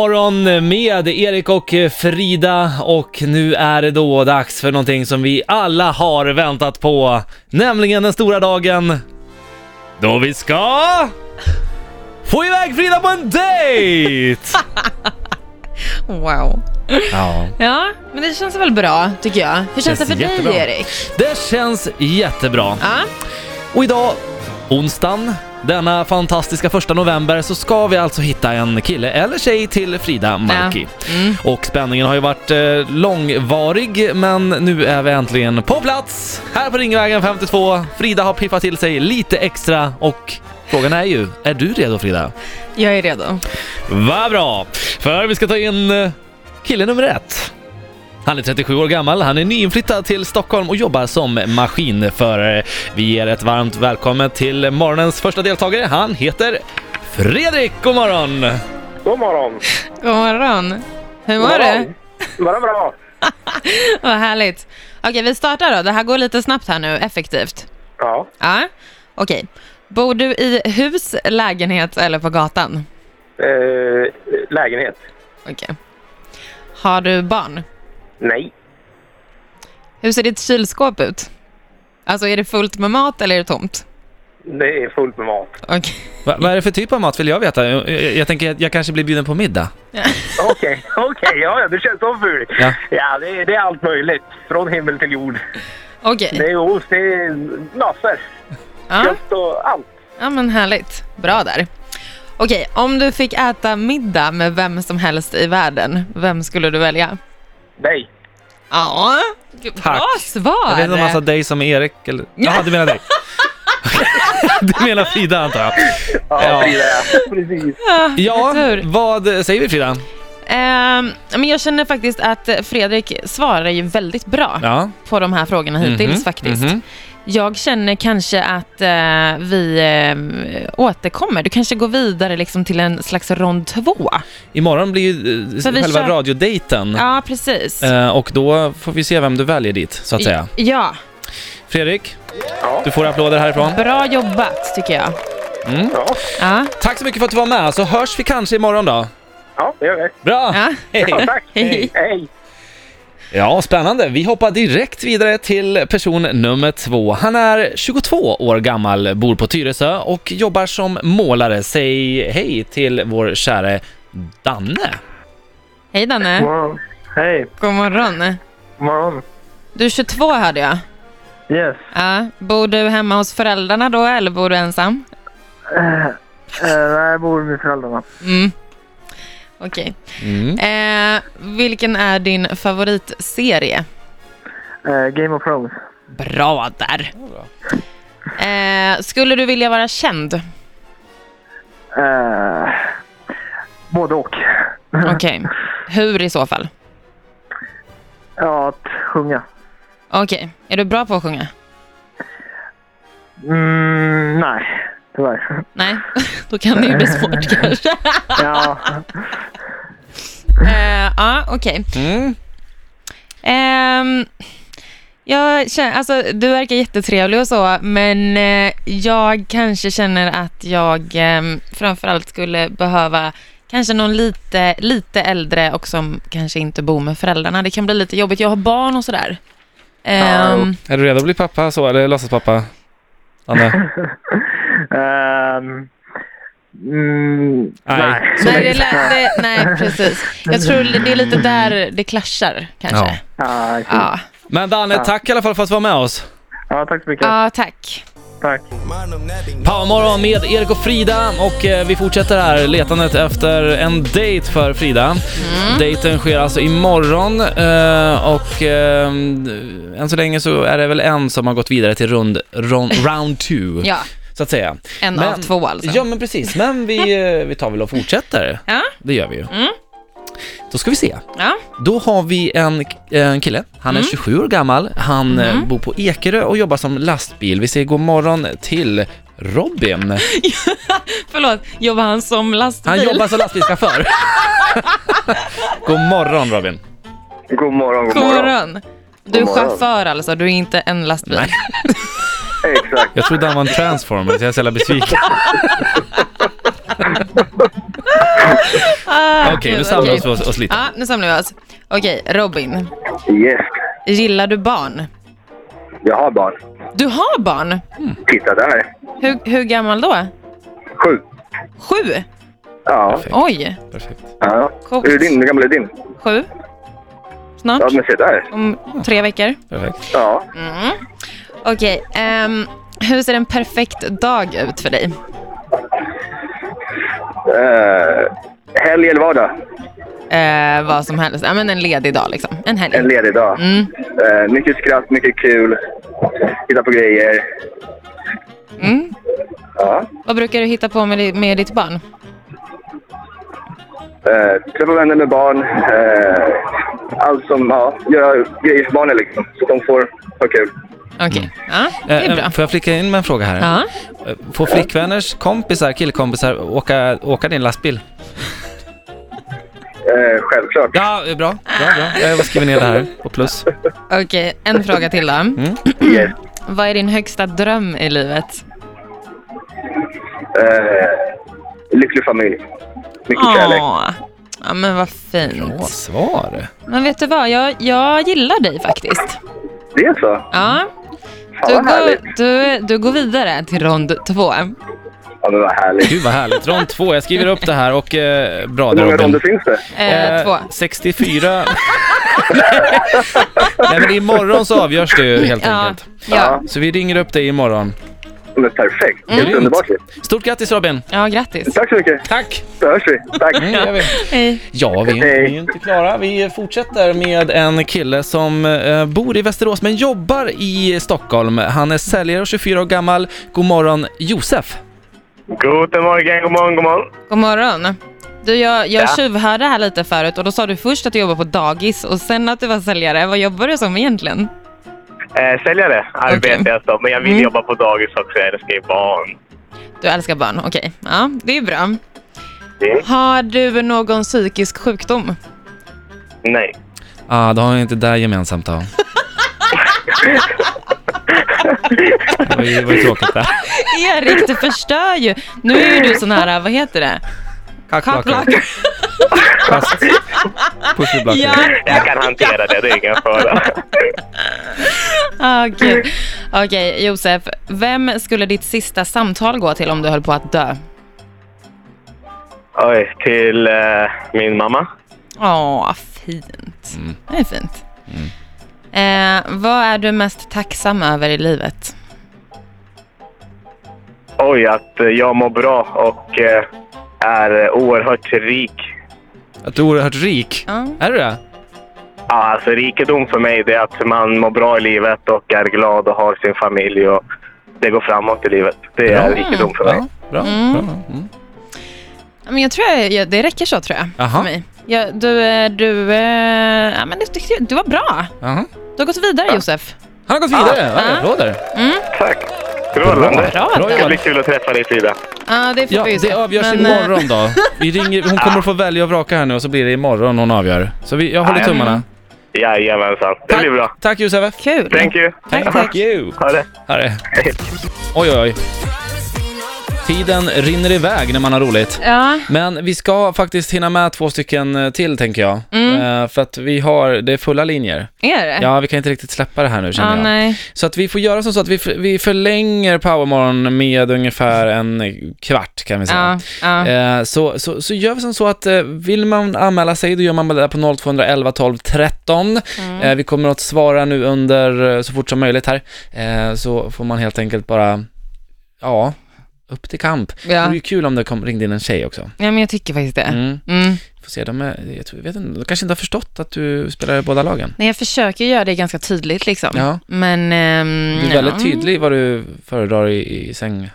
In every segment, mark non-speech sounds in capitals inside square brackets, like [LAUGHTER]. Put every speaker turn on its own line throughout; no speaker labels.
Powermorgon med Erik och Frida och nu är det då dags för någonting som vi alla har väntat på, nämligen den stora dagen då vi ska få iväg Frida på en dejt!
Wow.
Ja.
Ja, men det känns väl bra tycker jag. Hur
Känns
känns, det för
jättebra.
dig Erik?
Det känns jättebra.
Ja.
Och idag, onsdagen, denna fantastiska första november så ska vi alltså hitta en kille eller tjej till Frida Marki.
Mm.
Och spänningen har ju varit eh, långvarig men nu är vi äntligen på plats här på Ringvägen 52. Frida har piffat till sig lite extra och Frågan är ju, är du redo Frida?
Jag är redo.
Vad bra! För vi ska ta in eh, kille nummer ett. Han är 37 år gammal, han är nyinflyttad till Stockholm och jobbar som maskinförare. Vi ger ett varmt välkommen till morgonens första deltagare. Han heter Fredrik, god morgon!
God morgon!
God morgon. Hur mår du?
Bara bra.
[LAUGHS] Vad härligt. Okej, vi startar då. Det här går lite snabbt här nu, effektivt.
Ja,
Ja, okej. Bor du i hus, lägenhet eller på gatan?
eh, lägenhet.
Okej. Har du barn?
Nej,
Hur ser ditt kylskåp ut? Alltså är det fullt med mat eller är det tomt?
det är fullt med mat.
Okej.
Va, vad är det för typ av mat vill jag veta? Jag, jag, jag tänker att jag kanske blir bjuden på middag.
Okej, [LAUGHS] okej, ja, ja, du känns så ful.
Ja.
Ja, det, det är allt möjligt. Från himmel till jord.
Okej.
Det är ost, det är massor.
Ja.
Kött och allt.
Ja men härligt, bra där. Okej, om du fick äta middag med vem som helst i världen, vem skulle du välja?
Nej.
Ja, gud, bra
Tack.
svar!
Jag vet inte om han sa dig som Erik eller... Jaha, du
[LAUGHS]
menar dig. du menar Frida antar jag.
Ja,
Ja.
Frida, ja. [LAUGHS] Precis.
Ja,
tur.
vad säger vi Frida?
Ehm, men jag känner faktiskt att Fredrik svarar ju väldigt bra
Ja.
på de här frågorna hittills
Mhm,
faktiskt.
mhm.
Jag känner kanske att eh, vi eh, återkommer. Du kanske går vidare liksom till en slags rond två.
Imorgon blir ju eh,
Så vi
själva
kör-
radiodejten
Ja, precis.
Eh, och då får vi se vem du väljer dit, så att säga.
Ja,
Fredrik,
Ja.
du får applåder härifrån.
bra jobbat tycker jag.
Ja.
Ja,
Tack så mycket för att du var med, så hörs vi kanske imorgon då.
ja, det gör vi.
Bra!
ja.
Ja,
Hej.
tack. Hej. Hej.
Ja, spännande. Vi hoppar direkt vidare till person nummer två. Han är 22 år gammal, bor på Tyresö och jobbar som målare. Säg hej till vår käre Danne.
Hej Danne.
morgon. Hej,
God morgon.
god morgon.
Du är 22 hörde jag.
Yes.
Ja. Bor du hemma hos föräldrarna då eller bor du ensam?
Eh, nej, jag bor med föräldrarna.
Mm. Okej.
Mm.
Eh, vilken är din favoritserie?
Eh, Game of Thrones.
Bra där. Eh, skulle du vilja vara känd?
Eh, både och. [LAUGHS]
Okej. Hur i så fall?
Ja, att sjunga.
Okej. Är du bra på att sjunga?
Mm, nej, tyvärr.
Nej, [LAUGHS] då kan det ju bli svårt kanske.
Ja,
Eh, Ja, okej.
Mm.
Ehm, jag känner, alltså, du verkar jättetrevlig och så, men eh, jag kanske känner att jag ehm, framförallt skulle behöva kanske någon lite, lite äldre och som kanske inte bor med föräldrarna. Det kan bli lite jobbigt. Jag har barn och sådär. Ehm,
Är du redo att bli pappa så, eller låtsaspappa? Danne?
Ehm, mm,
Nej.
nej.
Så
nej, det lät, det, nej, precis. Jag tror det är lite där det clashar kanske.
Ja, exakt.
Ja,
Men Danne, tack i alla fall för att du var med oss.
ja, tack så mycket.
ja tack.
Tack.
Powermorgon med Erik och Frida och eh, vi fortsätter här letandet efter en dejt för Frida.
Mm.
Dejten sker alltså imorgon eh, och eh, än så länge så är det väl en som har gått vidare till rund, ron, round two
[LAUGHS] Ja,
så att säga.
en av
Men-
två alltså.
Ja men precis, men vi, eh, vi tar väl och fortsätter.
Ja.
Det gör vi ju.
Mm.
Då ska vi se.
Ja.
Då har vi en, en kille, han
Mm.
är 27 år gammal, han eh, bor på Ekerö och jobbar som lastbil. Vi säger god morgon till Robin.
Förlåt, jobbar han som lastbil?
Han jobbar som lastbilschaufför. [LAUGHS] God morgon Robin.
God morgon,
God morgon. Du är
God morgon.
chaufför alltså, du är inte en lastbil.
Nej.
Exakt.
[LAUGHS]
Jag trodde han var en transformer så jag är så jävla besviken.
Ah,
Okej, nu
gud,
samlar
okej.
vi oss, oss lite.
Ja, nu samlar vi oss. Okej, Robin.
Yes,
Gillar du barn?
jag har barn.
Du har barn?
Titta där.
Hur, hur gammal då?
Sju.
Sju?
Ja.
Perfekt.
Oj,
Perfekt.
ja.
coolt.
Hur är din? Hur gammal är din?
Sju? Snart?
Ja, men se där.
Om tre veckor?
Perfekt.
Ja.
Mm. Okej, ehm, hur ser en perfekt dag ut för dig?
Eh, helg eller vardag?
Eh, vad som helst. Ja, men en ledig dag liksom. En helg.
En ledig dag.
Mm.
Eh, mycket skratt, mycket kul. Titta på grejer.
Mm.
Ja.
Vad brukar du hitta på med, di- med ditt barn?
Eh, träffa vänner med barn. Eh, allt som, ja, göra grejer för barnen liksom. Så de får ha kul.
Okej, ja, det
Eh,
är
eh,
bra.
Får jag flicka in med en fråga här?
Ja.
Eh, Får flickvänners kompisar, killkompisar, åka, åka din lastbil?
Eh, självklart.
Ja, eh, bra. bra, bra. Jag skriver ner det här på plus.
Okej, en fråga till då.
Yes.
[CLEARS THROAT] Vad är din högsta dröm i livet?
Eh, lycklig familj. Mycket kärlek.
Åh, ja, men vad
Bra
fint.
svar.
Men vet du vad, jag, jag gillar dig faktiskt.
Det är så?
Ja,
Fan
du,
vad härligt.
går, du, du går vidare till rond två. Eh,
Ja men vad härligt.
Gud vad härligt. Rond två. Jag skriver upp det här och eh, bra
Hur
där
många
Robin.
ronder finns det?
Eh, två.
64.
[LAUGHS]
Nej men imorgon så avgörs det ju helt
Ja,
enkelt.
ja.
Så vi ringer upp dig imorgon.
Ja, men perfekt. Helt
Mm.
underbart ju.
Stort grattis Robin!
ja, grattis.
Tack så mycket.
Tack!
Då hörs vi. Tack.
Mm, det gör vi.
Hej.
Ja, vi, vi är ju inte klara. Vi fortsätter med en kille som eh, bor i Västerås men jobbar i Stockholm. Han är säljare och 24 år gammal. God morgon Josef!
Guten morgon, god morgon, god morgon.
God morgon. Du, jag, jag tjuvhörde här lite förut och då sa du först att du jobbar på dagis och sen att du var säljare. Vad jobbar du som egentligen?
Eh, säljare arbetar
Okej.
jag som, men jag vill
Mm.
jobba på dagis också. Jag älskar ju barn.
Du älskar barn, okej. Ja, det är bra.
Mm.
Har du någon psykisk sjukdom?
Nej.
Ah, då har jag inte det där gemensamt då. Det var ju, det var ju tråkigt det.
Erik, du förstör ju. Nu är ju du sån här, vad heter det? Kackerlackor.
Fast pusselblackor.
Ja,
Jag kan hantera det, det är ingen fara.
ah, gud. Okej, Josef. Vem skulle ditt sista samtal gå till om du höll på att dö?
Oj, till eh, min mamma.
Åh, fint. Det är fint. Eh, vad är du mest tacksam över i livet?
Oj, att eh, jag mår bra och eh, är eh, oerhört rik.
Att du är oerhört rik.
Ja.
Är du det?
Ja, Alltså, rikedom för mig det är att man mår bra i livet och är glad och har sin familj. och Det går framåt i livet. Det är
Bra.
rikedom för mig.
Ja, bra.
Mm.
bra. Mm.
Ja, Men jag tror jag, jag, det räcker så tror jag.
Aha.
För mig. Ja, du, eh, du, eh, ja, men du, tyckte jag- du var bra.
Aha.
Du har gått vidare Josef.
Han har gått vidare.
Ja.
Ah. Ja, Applåder.
Tack! Strålande.
Bra
Det blir
jobbat.
kul att träffa dig, Frida.
Ja, det får
Ja,
vi ju
det
se.
avgörs
Men, eh,
imorgon då. Vi ringer, hon
[LAUGHS]
kommer att få välja och vraka här nu och så blir det imorgon hon avgör. Så vi, jag håller
Ja, ja.
tummarna.
Jajamensan. Det
Tack,
blir bra.
tack Josef.
Kul.
Thank you.
Tack, tack.
you.
Ha det.
Här är. Oj, oj, oj. Tiden rinner iväg när man har roligt.
Ja,
Men vi ska faktiskt hinna med två stycken eh, till, tänker jag.
Mm.
Eh, för att vi har, det är fulla linjer.
är det?
Ja, vi kan inte riktigt släppa det här nu, känner
Eh. Ja,
jag.
nej.
Så att vi får göra som så att vi, för, vi förlänger Powermorgon med ungefär en kvart kan vi säga.
Ja, ja.
Eh, Så, så, så gör vi som så att eh, vill man anmäla sig, då gör man det på 0211 12 13.
Mm.
Eh, Vi kommer att svara nu under eh, så fort som möjligt här. Eh, Så får man helt enkelt bara, ja, upp till kamp. Det
Ja.
vore ju kul om det kom, ringde in en tjej också.
ja, men jag tycker faktiskt det.
Mm.
Mm.
Får se, de, är, jag tror, jag vet inte, de kanske inte har förstått att du spelar i båda lagen.
Nej, jag försöker göra det ganska tydligt liksom.
Ja.
Men... ehm,
Du är
ja.
väldigt tydlig i vad du föredrar i, i säng,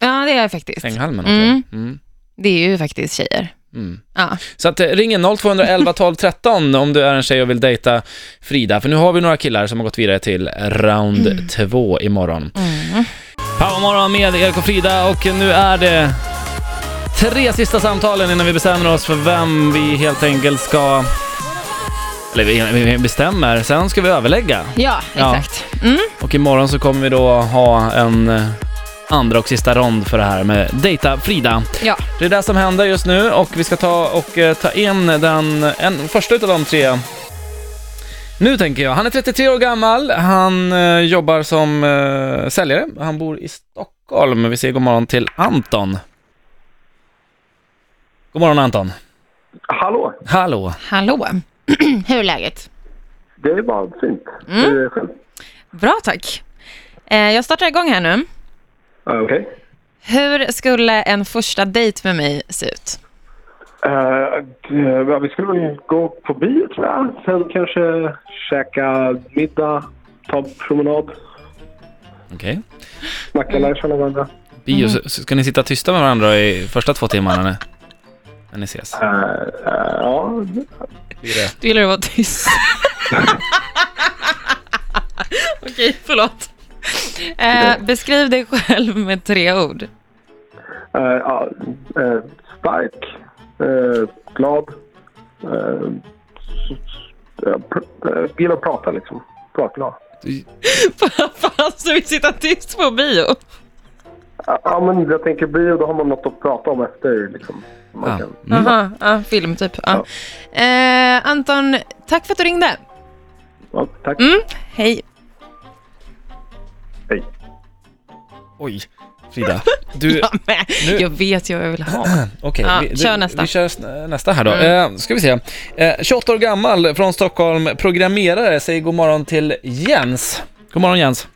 Ja, det är jag faktiskt.
sänghalmen också.
Mm.
Mm.
Det är ju faktiskt tjejer.
Mm.
Ja.
Så att, eh, ring en 0211 12 13 om du är en tjej och vill dejta Frida, för nu har vi några killar som har gått vidare till round två imorgon.
Mm.
Powermorgon med Erik och Frida och nu är det tre sista samtalen innan vi bestämmer oss för vem vi helt enkelt ska... Eller vi vi bestämmer, sen ska vi överlägga.
Ja,
Ja.
exakt. Mm.
Och imorgon så kommer vi då ha en eh, andra och sista rond för det här med Dejta Frida.
Ja.
Det är det som händer just nu och vi ska ta och eh, ta in den en, första utav de tre. Nu tänker jag. Han är 33 år gammal, han eh, jobbar som eh, säljare, han bor i Stockholm. Vi säger god morgon till Anton. God morgon Anton.
Hallå!
Hallå.
Hallå. [CLEARS THROAT] Hur är läget?
Det är bara fint.
Mm.
Hur är det själv?
Bra, tack. Eh, jag startar igång här nu.
Ja,
Ah,
Okej.
Hur skulle en första dejt med mig se ut?
Eh, det- ja, vi skulle väl gå på bio, tror jag. Sen kanske käka middag, ta en promenad,
Okej.
snacka mm. lär känna varandra.
Bio, så- så ska ni sitta tysta med varandra i första två timmarna när, när ni ses?
Eh, eh, ja,
Du gillar att vara tyst. [LAUGHS] Okej, förlåt. Eh, beskriv dig själv med tre ord. [LAUGHS]
eh, ja, eh, stark, eh, glad. eh, s- s- eh, pr- eh, Gillar att prata, liksom. Pratglad.
Fan, ska vi sitta tyst på bio?
Ja, Ja, men jag tänker bio, då har man något att prata om efter. Liksom. Man
Ja.
kan-
Mm.
Aha, ja, film typ. Ja. Eh, Anton, tack för att du ringde.
Ja, tack.
Hej.
Hej.
Oj, Frida. Du,
Ja, men,
Nu-
jag vet ju vad jag vill ha.
Okej,
Ja,
vi,
kör
vi,
nästa. Mm.
vi kör s- nästa här då. Eh, ska vi se. Eh, 28 år gammal från Stockholm, programmerare, säger god morgon till Jens. God morgon Jens.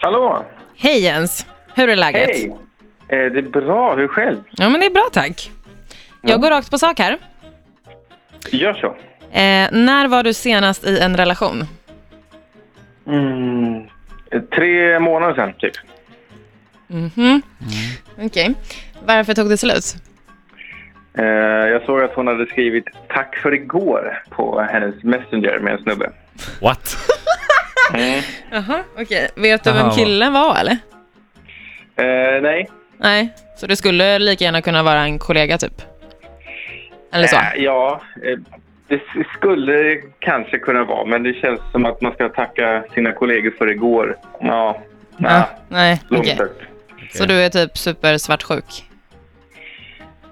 Hallå!
Hej Jens, hur är läget?
Hej! Eh, det är bra, hur själv?
Ja men det är bra tack. Jag går rakt på sak här.
Gör så.
Eh, när var du senast i en relation?
Mm, eh, tre månader sedan, typ.
Mhm. Mm. Okej. Varför tog det slut?
Eh, jag såg att hon hade skrivit tack för igår på hennes messenger med en snubbe.
What? [LAUGHS]
Jaha, okej. Vet du vem
Jaha.
killen var eller?
Eh, nej.
Nej. Så det skulle lika gärna kunna vara en kollega typ? Eller så?
Eh, ja, eh, det s- skulle kanske kunna vara, men det känns som att man ska tacka sina kollegor för igår. Ja,
Ja,
nej,
nej,
långt
okej.
bort.
Så du är typ supersvartsjuk?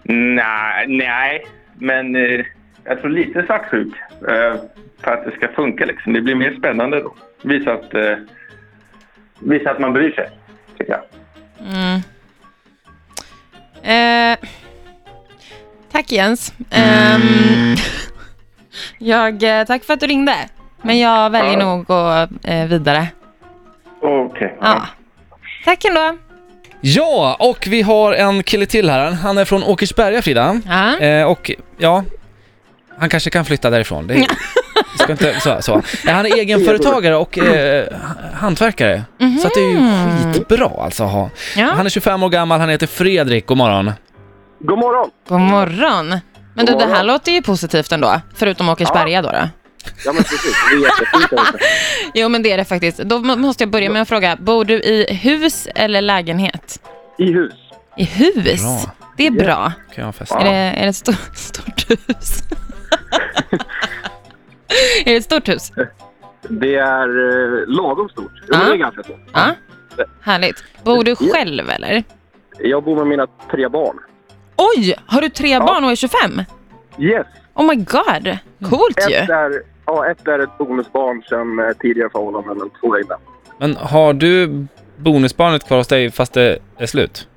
Nej, nej, men eh, jag tror lite svartsjuk eh, för att det ska funka. Liksom. Det blir mer spännande då. Visa att, eh, visa att man bryr sig, tycker jag.
Mm. Eh, tack Jens. Ehm, jag, eh, tack för att du ringde. Men jag väljer
Ja.
nog att gå eh, vidare.
Okej.
Ja. Tack ändå.
Ja, och vi har en kille till här. Han är från Åkersberga, Frida.
Ja.
Eh, och ja, han kanske kan flytta därifrån. Det vi ska inte, så, så. Eh, Han är egenföretagare och eh, hantverkare. Så att det är ju skitbra alltså att ha.
Mhm. ja.
Han är 25 år gammal, han heter Fredrik, god morgon.
God morgon!
God morgon. Men du, det här låter ju positivt ändå. Förutom Åkersberga då. då.
Ja, men precis. Det är jättefint. där ute.
Jo, men det är det faktiskt. Då må- måste jag börja med en fråga. Bor du i hus eller lägenhet?
I hus.
I hus?
Bra.
Det är bra.
Kan jag festa?
Är det, är det ett stort, [LAUGHS] stort hus? är det ett stort hus?
Det är eh, lagom stort. Jo, men
Ja.
Det är ganska stort.
Ja. Härligt. Bor du själv eller?
Jag bor med mina tre barn.
Oj, har du tre barn och är 25?
Yes!
Oh my god, coolt ju.
Ett är, ja, ett är ett bonusbarn sen eh, tidigare förhållanden, men två är innan.
Men har du bonusbarnet kvar hos dig fast det är slut?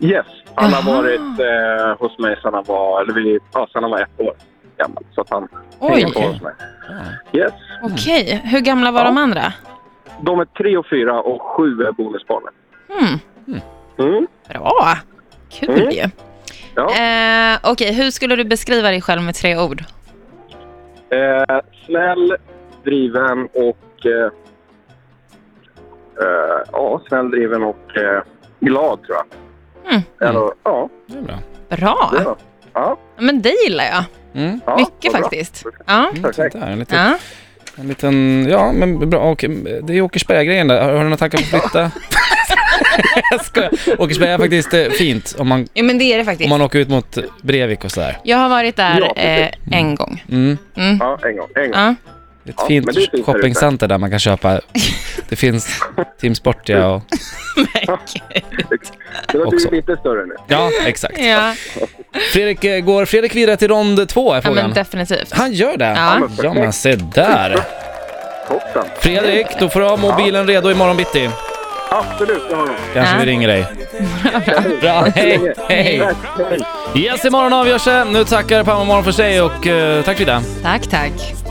Yes! Han har
Aha.
varit eh, hos mig sen han var, eller vi, ja, sen han var ett år gammal. Så att han hänger
Oj,
på hos mig. Yes.
okej. Hur gamla var
Ja.
de andra?
De är tre och fyra och sju är bonusbarnen.
Hmm,
Mm.
bra. Kul
Mm.
ju.
Ja.
Eh, okej, hur skulle du beskriva dig själv med tre ord?
Eh, snäll, driven och... Eh, eh, ja, snäll, driven och eh, glad, tror jag.
Mm.
Eller, ja,
Det är bra.
Bra.
det var
Men det gillar jag.
Mm.
ja,
Mycket
vad bra. Mm.
faktiskt. Ja.
Perfekt.
Sånt där, en, liten,
ja.
en liten, ja men bra, och, mm, det är Åkersberga-grejen där. Har du några tankar på
[LAUGHS]
att flytta? [LAUGHS] jag skojar. Åkersberga är faktiskt eh, fint om man,
Jo, men det är det
om
faktiskt.
man åker ut mot Brevik och sådär.
Jag har varit där
Ja, precis.
eh, en gång.
Mm.
Ja, en gång. En gång.
Ja.
Ett
Ja,
fint
men det är fint här ute.
shoppingcenter där man kan
[LAUGHS]
köpa. Det finns Team Sportia och...
[LAUGHS]
Det har
Också.
blivit lite större nu.
Ja, exakt.
Ja,
Fredrik, eh, går Fredrik vidare till rond två är
ja men
frågan?
definitivt.
Han gör det?
Ja.
ja men se där.
Hoppsan.
Fredrik, då får du ha mobilen redo imorgon bitti.
Absolut, det har jag.
Kanske
Ja.
vi ringer dig. Bra, hej, hej. Yes, imorgon avgörs det. Nu tackar Pamma Morgon för sig och eh, tack för idag.
Tack, tack.